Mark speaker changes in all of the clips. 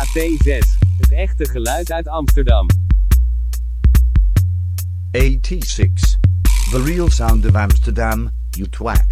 Speaker 1: AT6. Het echte geluid uit Amsterdam.
Speaker 2: AT6. The real sound of Amsterdam, you twat.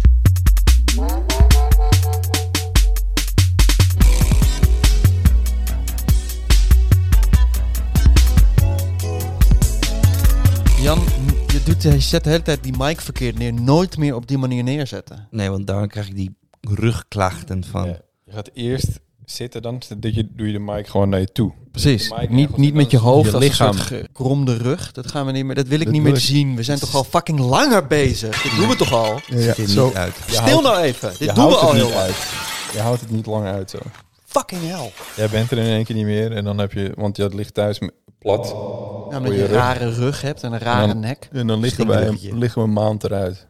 Speaker 3: Jan, je, doet, je zet de hele tijd die mic verkeerd neer. Nooit meer op die manier neerzetten.
Speaker 4: Nee, want daar krijg ik die rugklachten van.
Speaker 5: Ja. Je gaat eerst zitten, dan doe je, doe je de mic gewoon naar je toe.
Speaker 3: Precies.
Speaker 5: De mic
Speaker 3: Niet,
Speaker 5: ergens
Speaker 3: niet met je
Speaker 5: anders.
Speaker 3: hoofd
Speaker 5: Je
Speaker 3: als een soort
Speaker 5: lichaam.
Speaker 3: gekromde rug. Dat gaan we niet meer. Dat wil ik
Speaker 6: Dat
Speaker 3: niet
Speaker 6: wil
Speaker 3: meer
Speaker 6: ik.
Speaker 3: zien. We zijn toch al fucking langer bezig. Dit doen we toch al.
Speaker 6: Ja,
Speaker 4: Dit
Speaker 6: zo.
Speaker 4: niet uit.
Speaker 3: Stil nou even.
Speaker 5: Je
Speaker 3: Dit doen we
Speaker 5: houdt het
Speaker 3: al
Speaker 5: niet
Speaker 3: heel lang.
Speaker 5: uit. Je houdt het niet lang uit zo.
Speaker 3: Fucking hell.
Speaker 5: Jij bent er in één keer niet meer en dan heb je, want je ligt thuis m- plat.
Speaker 3: Ja, Nou, omdat
Speaker 5: Goeie
Speaker 3: je een
Speaker 5: rug.
Speaker 3: rare rug hebt en een rare
Speaker 5: dan-
Speaker 3: nek.
Speaker 5: En dan liggen, wij, liggen we een maand eruit.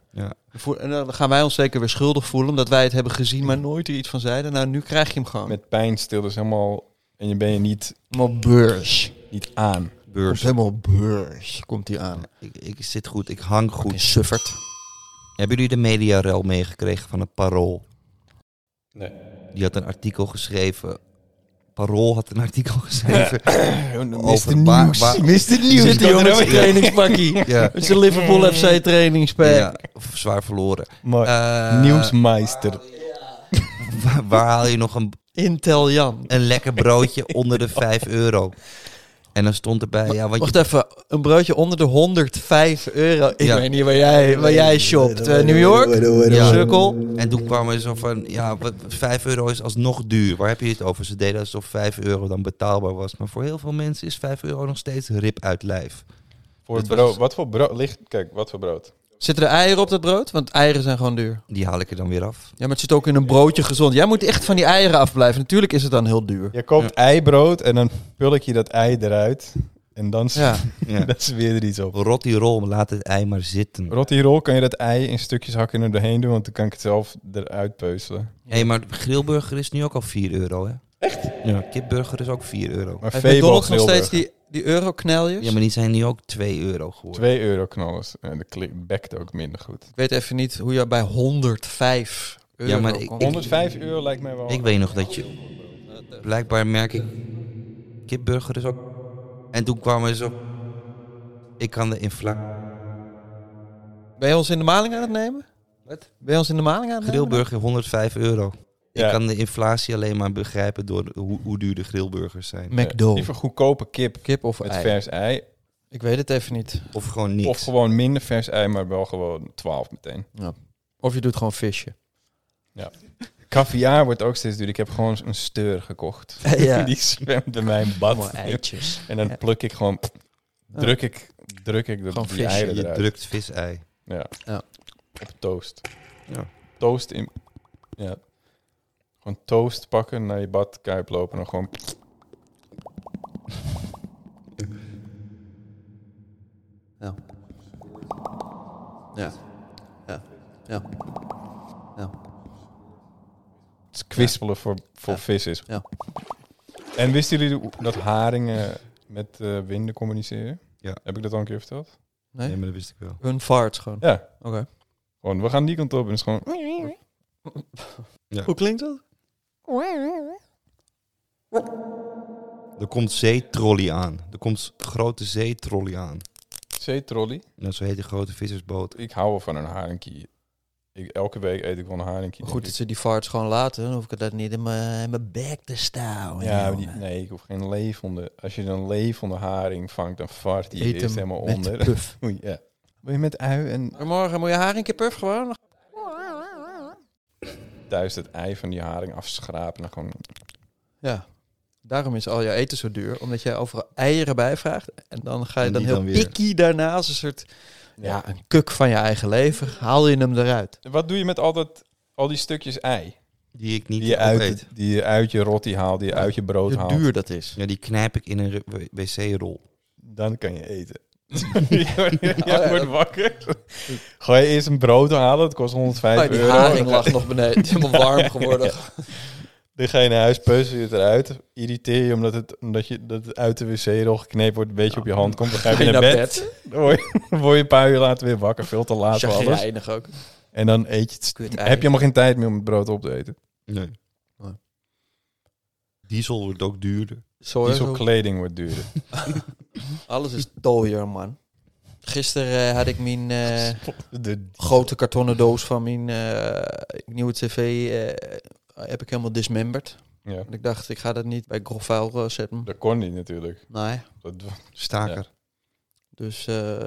Speaker 3: Voor- en dan gaan wij ons zeker weer schuldig voelen omdat wij het hebben gezien, maar nooit er iets van zeiden. Nou, nu krijg je hem gewoon.
Speaker 5: Met pijnstillers helemaal. En je ben je niet,
Speaker 3: helemaal beurs.
Speaker 5: niet aan.
Speaker 3: Komt helemaal beurs. Komt hij aan.
Speaker 4: Ik, ik zit goed, ik hang
Speaker 3: Fucking
Speaker 4: goed.
Speaker 3: suffert.
Speaker 4: Hebben jullie de mediarel meegekregen van het Parool?
Speaker 5: Nee.
Speaker 4: Die had een artikel geschreven. Parool had een artikel geschreven.
Speaker 3: Mr.
Speaker 4: waar-
Speaker 3: Nieuws.
Speaker 4: waar-
Speaker 3: Mr. Nieuws. Zit die jongen in zijn trainingspakkie.
Speaker 4: ja,
Speaker 3: Met zijn Liverpool FC trainingspak.
Speaker 4: Mm. ja, of zwaar verloren.
Speaker 5: Maar
Speaker 4: Eh,
Speaker 5: nieuwsmeister.
Speaker 4: Waar, waar haal je nog een,
Speaker 3: Intel Jan.
Speaker 4: een lekker broodje onder de 5 euro? En dan stond erbij, ja, want je
Speaker 3: Wacht even, een broodje onder de 105 euro. Ik
Speaker 4: Ja.
Speaker 3: weet niet waar jij, waar jij shopt. Eh, New York?
Speaker 4: Ja.
Speaker 3: Sukkel?
Speaker 4: En toen kwam er zo van, ja, wat- 5 euro is alsnog duur. Waar heb je het over? Ze deden alsof 5 euro dan betaalbaar was. Maar voor heel veel mensen is 5 euro nog steeds rip uit lijf.
Speaker 5: Voor
Speaker 4: Dit was-
Speaker 5: brood. Wat voor brood? Ligt, kijk, wat voor brood?
Speaker 3: Zitten er eieren op dat brood? Want eieren zijn gewoon duur.
Speaker 4: Die haal ik er dan weer af.
Speaker 3: Ja, maar het zit ook in een broodje gezond. Jij moet echt van die eieren afblijven. Natuurlijk is het dan heel duur.
Speaker 5: Je koopt eibrood en dan pul ik je dat ei eruit. En dan is,
Speaker 3: Ja.
Speaker 4: Ja.
Speaker 5: dat is weer er iets op.
Speaker 4: Rot die rol, laat het ei maar zitten. Hé,
Speaker 5: Rotirol kan je dat ei in stukjes hakken en er doorheen doen, want dan kan ik het zelf eruit peuzelen.
Speaker 4: hey, maar grillburger is nu ook al 4 euro, hè? Echt? Ja. Kipburger is ook 4 euro.
Speaker 5: Maar
Speaker 3: Heeft
Speaker 5: Febo
Speaker 3: McDonald's nog steeds
Speaker 5: grillburger.
Speaker 3: die, die euro-kneljes?
Speaker 4: Ja, maar die zijn nu ook 2 euro geworden.
Speaker 5: 2 euro knallers. En de kli- bekt ook minder goed.
Speaker 3: Ik weet even niet hoe je bij 105 euro
Speaker 4: Ja, maar ik-
Speaker 3: komt.
Speaker 5: 105 euro lijkt mij wel.
Speaker 4: Ik weet nog dat je... Blijkbaar merk ik... Kipburger is ook... En toen kwam er zo... Ik kan de inflatie...
Speaker 3: Ben je ons in de maling aan het nemen? Wat? Ben je ons in de maling aan het nemen?
Speaker 4: Grillburger 105 euro.
Speaker 5: Ja.
Speaker 4: Ik kan de inflatie alleen maar begrijpen door de- hoe, hoe duur de grillburgers zijn.
Speaker 5: Ja,
Speaker 3: McDo.
Speaker 5: Liever goedkope kip
Speaker 3: eh, Kip of
Speaker 5: met
Speaker 3: ei?
Speaker 5: vers ei.
Speaker 3: Ik weet het even niet.
Speaker 4: Of gewoon
Speaker 5: Of
Speaker 4: niks.
Speaker 5: gewoon minder vers ei, maar wel gewoon 12 meteen.
Speaker 3: Of je doet gewoon visje.
Speaker 5: Caviar wordt ook steeds duurder. Ik heb gewoon een steur gekocht.
Speaker 3: Ja.
Speaker 5: Die zwemt bij mijn bad.
Speaker 3: Gewoon eitjes.
Speaker 5: En dan
Speaker 3: Ja.
Speaker 5: pluk ik gewoon... Druk ik, druk ik
Speaker 3: Gewoon
Speaker 5: de, die
Speaker 3: visje.
Speaker 5: eieren
Speaker 4: Je
Speaker 5: eruit.
Speaker 4: drukt vis-ei.
Speaker 5: Ja.
Speaker 3: Ja.
Speaker 5: Op toast.
Speaker 4: Ja.
Speaker 5: Toast in. Ja. Gewoon toast pakken, naar je badkuip lopen en dan gewoon.
Speaker 3: Ja. Ja. Ja. Ja. Ja.
Speaker 5: Het is kwispelen voor, voor
Speaker 3: Ja.
Speaker 5: vis is.
Speaker 3: Ja.
Speaker 5: En wisten jullie hoe- dat haringen met eh, winden communiceren?
Speaker 4: Ja.
Speaker 5: Heb ik dat al een keer verteld?
Speaker 3: Nee?
Speaker 4: Nee, maar dat wist ik wel.
Speaker 3: Hun vaart gewoon.
Speaker 5: Ja.
Speaker 3: Oké.
Speaker 5: Gewoon, we gaan die kant op en het is gewoon...
Speaker 3: Hoe klinkt dat?
Speaker 4: Er komt zeetrolley aan. Er komt grote zeetrolley aan.
Speaker 5: Zeetrolley.
Speaker 4: Nou, zo heet de grote vissersboot.
Speaker 5: Ik hou wel van een haringkie. Ik, elke week eet ik wel een haringkie.
Speaker 3: Goed dat
Speaker 5: denk
Speaker 3: ze die vaart gewoon laten. Dan hoef ik dat niet in mijn in mijn bek te
Speaker 5: ik.
Speaker 3: stouwen.
Speaker 5: Ja, maar
Speaker 3: jongen.
Speaker 5: die- nee, ik hoef geen levende... Als je een levende haring vangt, dan vaart die
Speaker 3: Eet
Speaker 5: eerst
Speaker 3: hem
Speaker 5: helemaal
Speaker 3: met
Speaker 5: onder.
Speaker 3: puf.
Speaker 5: Oei, ja. Wil je met ui en
Speaker 3: Maar Morgen moet je haar een keer puff gewoon.
Speaker 5: thuis het ei van die haring afschrapen en dan gewoon...
Speaker 3: Ja. Daarom is al jouw eten zo duur. Omdat jij overal eieren bijvraagt. En dan ga je
Speaker 4: En
Speaker 3: dan
Speaker 4: die
Speaker 3: heel
Speaker 4: dan weer.
Speaker 3: pikkie daarnaast een soort...
Speaker 5: Ja.
Speaker 3: Ja, een kuk van je eigen leven. Haal je hem eruit.
Speaker 5: Wat doe je met al, dat, al die stukjes ei?
Speaker 4: Die ik niet
Speaker 5: Die je
Speaker 4: opeet.
Speaker 5: uit, die je uit je rotti haalt, die je uit je brood
Speaker 3: Hoe
Speaker 5: haalt.
Speaker 3: duur dat is.
Speaker 4: Ja, die knijp ik in een w- wc-rol.
Speaker 5: Dan kan je eten. Jij wordt wakker. Ga je eerst een brood halen, dat kost 105
Speaker 3: Maar Oh, die
Speaker 5: euro.
Speaker 3: haring
Speaker 5: Dan ga-
Speaker 3: lag nog beneden. Helemaal warm geworden.
Speaker 5: Dan ga je naar huis, peuzel je het eruit. Irriteer je omdat het, omdat je, dat het uit de wc-rol geknepen wordt, een beetje op je hand komt. Dan ga je weer naar bed. Dan word je, dan word je een paar uur later weer wakker, veel te laat voor alles.
Speaker 3: Chagrijnig ook.
Speaker 5: En dan eet je het.
Speaker 3: Kut
Speaker 5: Heb
Speaker 3: ei.
Speaker 5: je helemaal geen tijd meer om het brood op te eten.
Speaker 4: Nee.
Speaker 3: Nee.
Speaker 4: Diesel wordt ook duurder.
Speaker 6: Sorry, zo-
Speaker 5: Dieselkleding wordt duurder.
Speaker 6: alles is tooier, man.
Speaker 3: Gisteren eh, had ik mijn eh,
Speaker 5: De
Speaker 3: grote kartonnen doos van mijn eh, nieuwe tv eh, heb ik helemaal dismemberd.
Speaker 5: Ja,
Speaker 3: Want ik dacht, ik ga dat niet bij grof vuil eh, zetten.
Speaker 5: dat kon niet natuurlijk.
Speaker 3: Nee.
Speaker 5: Dat,
Speaker 4: Staker.
Speaker 3: Dus eh,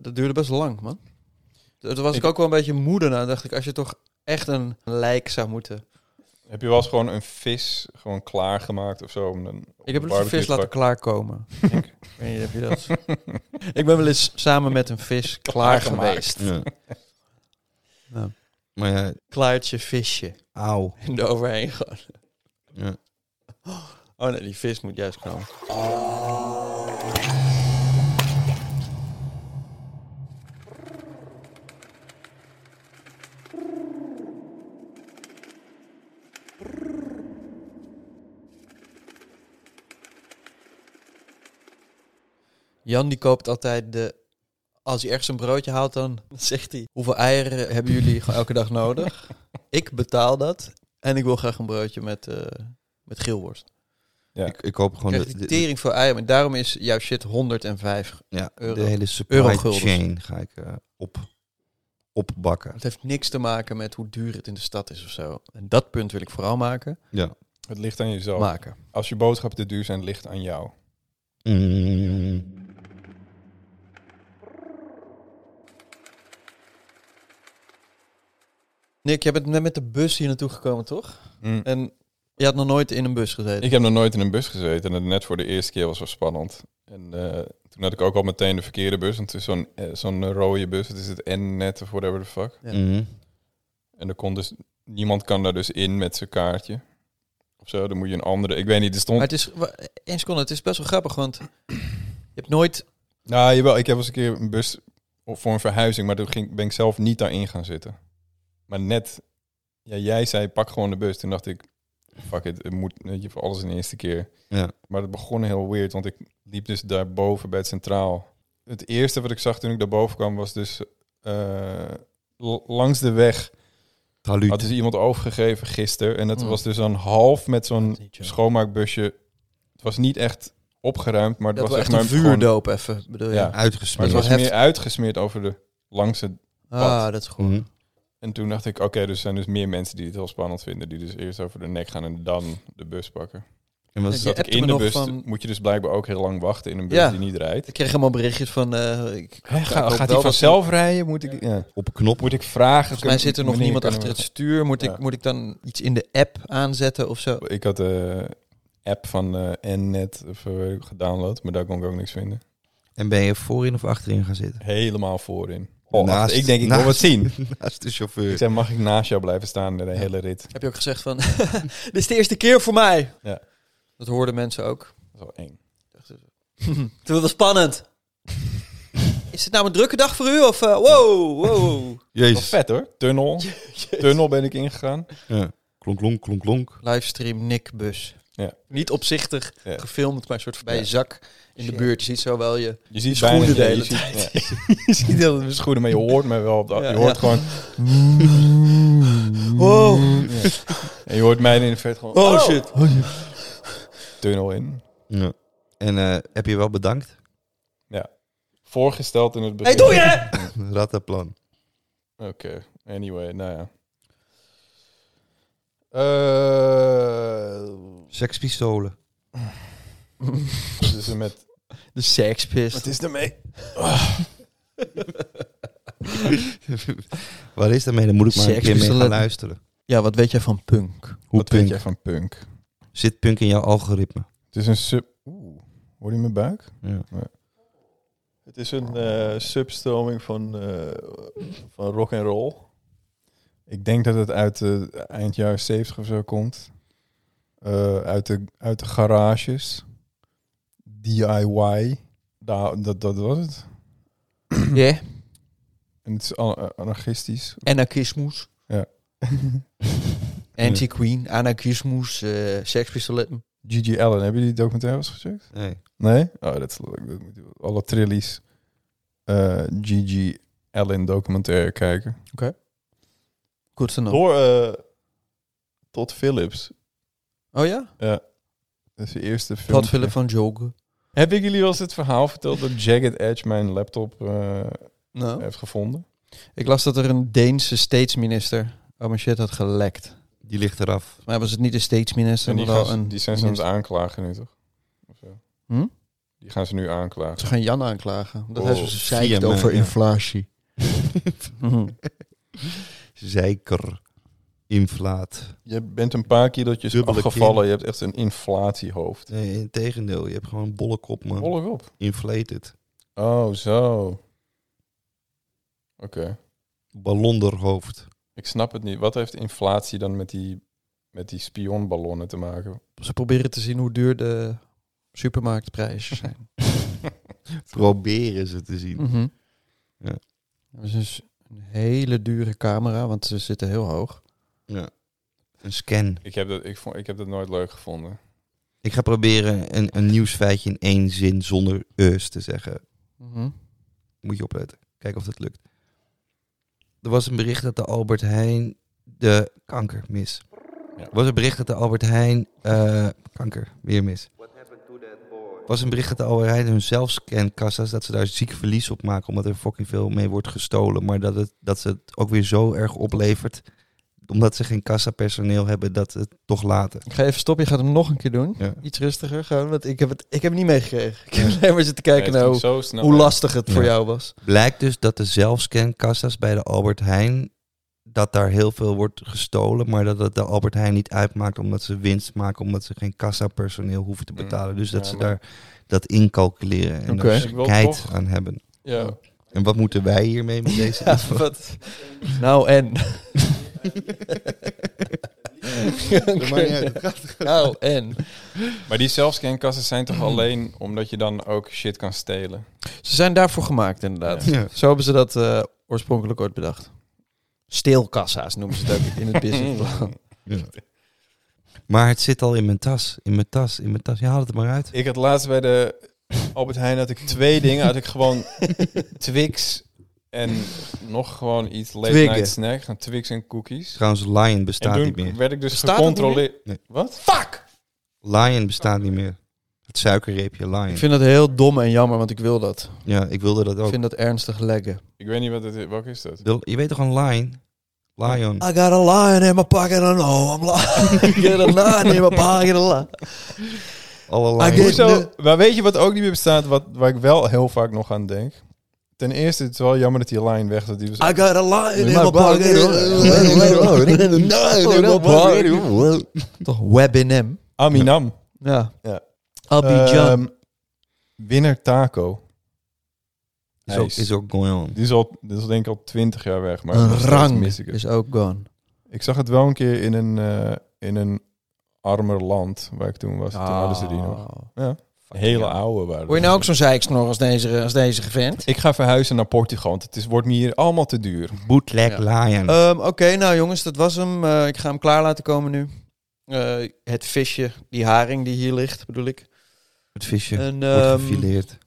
Speaker 3: dat duurde best lang, man. Toen was ik, ook wel een beetje moeder na. dacht ik, als je toch echt een lijk zou moeten.
Speaker 5: heb je wel eens gewoon een vis gewoon klaargemaakt of zo? om dan op
Speaker 3: Ik heb
Speaker 5: een
Speaker 3: een vis
Speaker 5: barbecue
Speaker 3: laten
Speaker 5: te
Speaker 3: klaarkomen. ik weet niet, heb je dat? ik ben wel eens samen met een vis klaar
Speaker 5: Klaargemaakt.
Speaker 3: geweest.
Speaker 4: Ja.
Speaker 3: Ja.
Speaker 4: Maar ja,
Speaker 3: Klaartje visje.
Speaker 4: auw.
Speaker 3: En eroverheen gaan.
Speaker 4: Ja.
Speaker 3: Oh nee, die vis moet juist komen. Jan die koopt altijd de... Als hij ergens een broodje haalt, dan zegt hij... Hoeveel eieren hebben jullie gewoon elke dag nodig? ik betaal dat. En ik wil graag een broodje met, eh met geelworst.
Speaker 5: Oh,
Speaker 4: Ik, ik koop gewoon
Speaker 3: Krijg
Speaker 4: de,
Speaker 3: die
Speaker 4: de-
Speaker 3: tering voor eieren. En daarom is jouw shit 105.
Speaker 4: ja, de
Speaker 3: euro.
Speaker 4: hele supply
Speaker 3: Euroguldens.
Speaker 4: chain ga ik eh, op, opbakken.
Speaker 3: Het heeft niks te maken met hoe duur het in de stad is of zo. En dat punt wil ik vooral maken.
Speaker 5: pakken. Het ligt aan jezelf.
Speaker 3: Maken.
Speaker 5: Als je boodschappen te duur zijn, ligt aan jou.
Speaker 4: Mm.
Speaker 3: Nick, jij bent net met de bus hier naartoe gekomen, toch?
Speaker 5: Mm.
Speaker 3: En je had nog nooit in een bus gezeten.
Speaker 5: Ik heb nog nooit in een bus gezeten en het net voor de eerste keer was wel spannend. En eh, toen had ik ook al meteen de verkeerde bus, want het is zo'n eh, zo'n rode bus, het is het N-net of whatever the fuck.
Speaker 3: Ja.
Speaker 4: Mm.
Speaker 5: En er kon dus, niemand kan daar dus in met zijn kaartje. Of zo, dan moet je een andere, ik weet niet, er
Speaker 3: Maar
Speaker 5: stond...
Speaker 3: het is, wa- één seconde, het is best wel grappig, want je hebt nooit...
Speaker 5: Nou, jawel, ik heb eens een keer een bus op- voor een verhuizing, maar toen ging, ben ik zelf niet daarin gaan zitten. Maar net, ja, jij zei pak gewoon de bus. Toen dacht ik, fuck it, het moet, weet je, voor alles in de eerste keer.
Speaker 4: Ja.
Speaker 5: Maar het begon heel weird, want ik liep dus daarboven bij het centraal. Het eerste wat ik zag toen ik daarboven kwam was dus eh, l- langs de weg.
Speaker 4: Taluut.
Speaker 5: Had dus iemand overgegeven gisteren en dat
Speaker 3: Mm.
Speaker 5: was dus dan half met
Speaker 3: Dat
Speaker 5: zo'n
Speaker 3: is niet chill.
Speaker 5: schoonmaakbusje. Het was niet echt opgeruimd, maar het
Speaker 3: Dat was
Speaker 5: was
Speaker 3: echt
Speaker 5: maar
Speaker 3: een
Speaker 5: gewoon-
Speaker 3: vuurdoop even, bedoel je?
Speaker 5: Ja. Maar
Speaker 4: Uitgesmeerd.
Speaker 5: het was
Speaker 3: Heft.
Speaker 5: meer uitgesmeerd over de langste.
Speaker 3: Ah, dat is goed.
Speaker 4: Mm.
Speaker 5: En toen dacht ik, oké, dus er zijn dus meer mensen die het heel spannend vinden. Die dus eerst over de nek gaan en dan de bus pakken.
Speaker 4: En was
Speaker 3: Je
Speaker 5: Zat ik
Speaker 3: appte
Speaker 5: in
Speaker 3: me
Speaker 5: de
Speaker 3: nog
Speaker 5: bus,
Speaker 3: van-
Speaker 5: moet je dus blijkbaar ook heel lang wachten in een bus
Speaker 3: Ja.
Speaker 5: die niet rijdt.
Speaker 3: Ik kreeg helemaal berichtjes van... eh, ik, ik hoop
Speaker 5: gaat
Speaker 3: wel
Speaker 5: hij
Speaker 3: dat-
Speaker 5: vanzelf rijden? Moet ik, ja.
Speaker 4: op knop.
Speaker 5: moet ik vragen?
Speaker 3: Volgens mij zit er nog
Speaker 5: Meneer,
Speaker 3: niemand
Speaker 5: kunnen
Speaker 3: achter het
Speaker 5: we-
Speaker 3: stuur. Moet,
Speaker 5: Ja.
Speaker 3: ik, moet ik dan iets in de app aanzetten of zo?
Speaker 5: Ik had de app van eh Nnet of, eh, gedownload, maar daar kon ik ook niks vinden.
Speaker 4: En ben je voorin of achterin gaan zitten?
Speaker 5: Helemaal voorin. Oh,
Speaker 4: Naast-
Speaker 5: achter- ik denk, ik wil
Speaker 4: naast-
Speaker 5: wat zien.
Speaker 4: Naast de
Speaker 5: Ik
Speaker 4: chauffeur.
Speaker 5: zei, mag ik naast jou blijven staan de hele rit?
Speaker 3: Heb je ook gezegd van, dit is de eerste keer voor mij.
Speaker 5: Ja.
Speaker 3: Dat hoorden mensen ook.
Speaker 5: Dat is wel eng.
Speaker 3: Toen was het spannend. is het nou een drukke dag voor u of... eh, wow, wow.
Speaker 5: Wel
Speaker 4: Jezus.
Speaker 5: vet hoor. Tunnel. Tunnel ben ik ingegaan.
Speaker 4: Ja. Klonk, klonk, klonk, klonk.
Speaker 3: Livestream Nick Bus.
Speaker 5: Ja.
Speaker 3: Niet opzichtig
Speaker 5: Ja.
Speaker 3: gefilmd, maar een soort bij
Speaker 5: Ja.
Speaker 3: je zak in de buurt. Je ziet zo wel je...
Speaker 5: Je ziet
Speaker 3: Schoenen
Speaker 5: bijna-
Speaker 3: de
Speaker 5: ja,
Speaker 3: hele
Speaker 5: je Ziet, ja. je ziet heel de schoenen, maar je hoort me wel. Op de,
Speaker 3: Ja.
Speaker 5: je hoort
Speaker 3: Ja.
Speaker 5: gewoon... Oh.
Speaker 3: Wow.
Speaker 5: En je hoort mij in de verte gewoon...
Speaker 3: Oh, shit.
Speaker 5: Tunnel in.
Speaker 4: Ja. En eh, heb je wel bedankt?
Speaker 5: Voorgesteld in het
Speaker 3: Hey,
Speaker 5: begin.
Speaker 3: doe je!
Speaker 4: Rattenplan.
Speaker 5: Oké, anyway, nou ja. Eh,
Speaker 4: Sekspistolen.
Speaker 5: wat is er met...
Speaker 3: De sekspist.
Speaker 5: is er mee?
Speaker 4: Waar is dat mee? Dan moet ik maar een keer mee gaan
Speaker 3: Sekspistolen.
Speaker 4: luisteren.
Speaker 3: Ja, wat weet jij van punk?
Speaker 4: Hoe
Speaker 5: Wat
Speaker 4: punk?
Speaker 5: vind jij van punk?
Speaker 4: Zit punk in jouw algoritme?
Speaker 5: Het is een sub... Oeh, hoor je mijn buik?
Speaker 4: Ja.
Speaker 5: Het is een eh, substroming van, eh, van rock en roll. Ik denk dat het uit de eind jaren 70 of zo komt. Eh, uit, de, uit de garages. DIY. Daar, dat, dat was het.
Speaker 3: Ja,
Speaker 5: En het is an- eh, anarchistisch.
Speaker 3: anarchismus.
Speaker 5: Ja.
Speaker 3: Anti-queen, anarchismus, eh sekspistoletten.
Speaker 5: Gigi Allen, heb je die documentaire eens gecheckt?
Speaker 4: Nee.
Speaker 5: Nee? Oh, dat is leuk. Dat moet je wel- Alle trillies. eh Gigi Allen documentaire kijken.
Speaker 3: Goed to know.
Speaker 5: Door tot Philips.
Speaker 3: Oh ja?
Speaker 5: Ja. Dat is de eerste film.
Speaker 3: Wat Philip van Jogen.
Speaker 5: Heb ik jullie wel eens het verhaal verteld dat Jagged Edge mijn laptop eh,
Speaker 3: Nou.
Speaker 5: heeft gevonden?
Speaker 3: Ik las dat er een Deense staatsminister oh mijn shit had gelekt.
Speaker 4: Die ligt eraf.
Speaker 3: Maar was het niet een staatsminister,
Speaker 5: En
Speaker 3: maar
Speaker 5: die,
Speaker 3: wel
Speaker 5: gaan ze-
Speaker 3: een...
Speaker 5: die zijn ze aan het
Speaker 3: minister.
Speaker 5: aanklagen nu, toch? Of zo.
Speaker 3: Hm?
Speaker 5: Die gaan ze nu aanklagen.
Speaker 3: Ze gaan Jan aanklagen. Dat
Speaker 5: Oh,
Speaker 3: hij zo zeikt
Speaker 4: via mij,
Speaker 3: over
Speaker 4: ja.
Speaker 3: inflatie. Mhm.
Speaker 4: Zeker. Inflaat.
Speaker 5: Je bent een paar kilo's
Speaker 4: Dubbele
Speaker 5: afgevallen.
Speaker 4: kin.
Speaker 5: Je hebt echt een inflatiehoofd.
Speaker 4: Nee, in tegendeel. Je hebt gewoon een bolle kop, man.
Speaker 5: Volg op.
Speaker 4: Inflated.
Speaker 5: Oh, zo. Oké.
Speaker 4: Ballonderhoofd.
Speaker 5: Ik snap het niet. Wat heeft inflatie dan met die, met die spionballonnen te maken?
Speaker 3: Ze proberen te zien hoe duur de supermarktprijzen zijn.
Speaker 4: Proberen ze te zien.
Speaker 3: Mhm.
Speaker 4: Ja.
Speaker 3: Dat is dus een hele dure camera, want ze zitten heel hoog.
Speaker 4: Een scan.
Speaker 5: Ik heb dat, ik vond, ik heb dat nooit leuk gevonden.
Speaker 4: Ik ga proberen een, een nieuwsfeitje in één zin zonder eus te zeggen.
Speaker 3: Mhm.
Speaker 4: Moet je opletten. Kijken of dat lukt. Er was een bericht dat de Albert Heijn de kanker mis.
Speaker 5: Ja.
Speaker 4: Er was een bericht dat de Albert Heijn eh, kanker weer mis. Er was een bericht dat de Albert Heijn hun zelfscankassa's dat ze daar ziek verlies op maken omdat er fucking veel mee wordt gestolen, maar dat het dat ze het ook weer zo erg oplevert omdat ze geen kassapersoneel hebben dat ze het toch laten.
Speaker 3: Ik ga even stoppen, je gaat hem nog een keer doen.
Speaker 4: Ja.
Speaker 3: Iets rustiger gewoon, want ik heb het, ik heb het niet meegekregen. Ik heb alleen maar zitten kijken
Speaker 5: Nee,
Speaker 3: naar
Speaker 5: het
Speaker 3: hoe,
Speaker 5: ging zo snel.
Speaker 3: hoe lastig het voor
Speaker 4: Ja.
Speaker 3: jou was.
Speaker 4: Blijkt dus dat de zelfscankassa's bij de Albert Heijn, dat daar heel veel wordt gestolen, maar dat het de Albert Heijn niet uitmaakt omdat ze winst maken, omdat ze geen kassapersoneel hoeven te
Speaker 5: Mm,
Speaker 4: betalen. Dus dat
Speaker 5: ja,
Speaker 4: ze
Speaker 5: maar-
Speaker 4: daar dat incalculeren en
Speaker 3: Oké.
Speaker 4: daar
Speaker 5: Ik wil
Speaker 4: scheid
Speaker 5: toch-
Speaker 4: aan hebben.
Speaker 5: Ja.
Speaker 4: En wat moeten wij hiermee met deze
Speaker 3: Ja,
Speaker 4: info?
Speaker 3: wat? Nou en?
Speaker 4: Dat maakt niet uit, dat
Speaker 3: nou en?
Speaker 5: Maar die zelfscankassen zijn toch alleen omdat je dan ook shit kan stelen?
Speaker 3: Ze zijn daarvoor gemaakt inderdaad.
Speaker 4: Ja.
Speaker 3: Zo hebben ze dat eh, oorspronkelijk ooit bedacht. Steelkassa's noemen ze het ook in het businessplan.
Speaker 4: Maar het zit al in mijn tas, in mijn tas, in mijn tas. Ja, haal het er maar uit.
Speaker 5: Ik had laatst bij de Albert Heijn had ik twee dingen. Had ik gewoon Twix en nog gewoon iets late
Speaker 3: Twiggen.
Speaker 5: night snack. Gewoon Twix en cookies.
Speaker 4: Trouwens, Lion
Speaker 5: En
Speaker 4: bestaat niet meer.
Speaker 5: toen werd ik dus
Speaker 3: Bestaat het niet meer?
Speaker 5: gecontroleerd.
Speaker 4: Nee.
Speaker 5: Wat?
Speaker 3: Fuck!
Speaker 4: Lion bestaat niet meer. Het suikerreepje Lion.
Speaker 3: Ik vind dat heel dom en jammer, want ik wil dat.
Speaker 4: Ja, ik wilde dat
Speaker 3: Ik
Speaker 4: ook.
Speaker 3: vind dat ernstig leggen.
Speaker 5: Ik weet niet wat het is. Welke is dat?
Speaker 4: De- Je weet toch een Lion? Lion.
Speaker 3: I got a lion in my pocket, I know I'm lying. I got a lion in my pocket, I lie.
Speaker 4: Alle
Speaker 3: I
Speaker 4: Lions.
Speaker 3: guess-
Speaker 5: Hoezo?
Speaker 3: Nee.
Speaker 5: Maar weet je wat ook niet meer bestaat, wat, waar ik wel heel vaak nog aan denk? Ten eerste, het is wel jammer dat die line weg is. Dat die was...
Speaker 3: I got a lion in my
Speaker 5: Oh, nou,
Speaker 3: pocket. Toch Webinem?
Speaker 5: Aminam.
Speaker 3: Ja.
Speaker 5: Ja.
Speaker 3: Abidjan.
Speaker 5: Ehm, winner Taco.
Speaker 4: Is ook, is ook Goyon.
Speaker 5: Die is, al, die is al denk ik al twintig jaar weg, maar
Speaker 3: een
Speaker 5: nog steeds
Speaker 3: rang
Speaker 5: mis ik, het.
Speaker 3: is ook gone.
Speaker 5: ik zag het wel een keer in een, eh, in een armer land waar ik toen was. Toen hadden ze die nog. Hele oude waren
Speaker 3: Ah. Oh. Word je nou ook zo'n zeiksnor als deze, als deze vent?
Speaker 5: Ik ga verhuizen naar Portugal, want het is, wordt me hier allemaal te duur.
Speaker 4: Bootleg Lion.
Speaker 3: Oké, nou jongens, dat was hem. Eh, ik ga hem klaar laten komen nu. Eh, het visje, die haring die hier ligt, bedoel ik.
Speaker 4: het visje
Speaker 3: En,
Speaker 4: wordt
Speaker 3: ehm,
Speaker 4: gefileerd.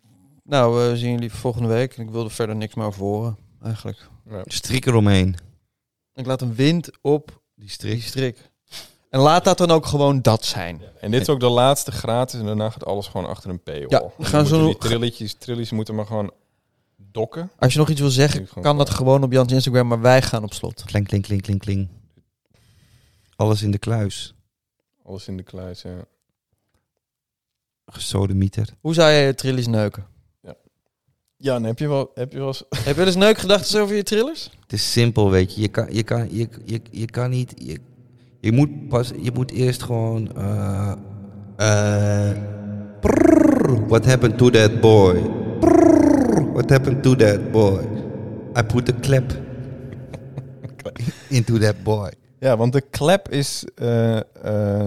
Speaker 3: nou, eh, we zien jullie volgende week. Ik wilde verder niks meer over horen, eigenlijk.
Speaker 4: Strik eromheen.
Speaker 3: Ik laat een wind op
Speaker 4: Die
Speaker 3: die
Speaker 4: strik.
Speaker 3: strik. En laat dat dan ook gewoon dat zijn.
Speaker 5: En dit is ook de laatste gratis en daarna gaat alles gewoon achter een paywall.
Speaker 3: Ja,
Speaker 5: En
Speaker 3: gaan
Speaker 5: dan moeten
Speaker 3: zo-
Speaker 5: Die trilletjes, trillies moeten maar gewoon dokken.
Speaker 3: Als je nog iets wil
Speaker 5: Ik
Speaker 3: zeggen,
Speaker 5: gewoon
Speaker 3: kan dat gewoon op Jans Instagram, maar wij gaan op slot.
Speaker 4: Kling, kling, kling, kling, kling. Alles in de kluis.
Speaker 5: Alles in de kluis, ja.
Speaker 4: Gesodemieter.
Speaker 3: Hoe zou jij je trillers neuken?
Speaker 5: Ja, en heb je wel, heb je wel eens...
Speaker 3: Heb je wel eens neukgedachten over je trillers?
Speaker 4: Het is simpel, weet je. Je kan, je kan, je, je, je kan niet... Je, je, moet pas, je moet eerst gewoon... eh eh, prrr, what happened to that boy? Prrr, what happened to that boy? I put a clap into that boy.
Speaker 5: Ja, want de klep is eh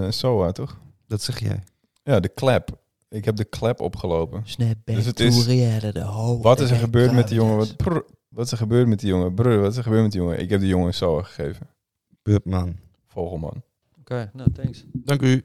Speaker 5: eh SOA, toch?
Speaker 4: Dat zeg jij.
Speaker 5: Ja, de klep. Ik heb de klep opgelopen.
Speaker 3: Snap back
Speaker 5: Dus het is- to
Speaker 3: de ho.
Speaker 5: Wat is er gebeurd met die jongen? Wat, prr, wat is er gebeurd met die jongen? Brr, wat is er gebeurd met die jongen? Ik heb die jongen SOA gegeven.
Speaker 4: Bubman.
Speaker 5: Vogelman.
Speaker 3: Oké, nou thanks.
Speaker 4: Dank u.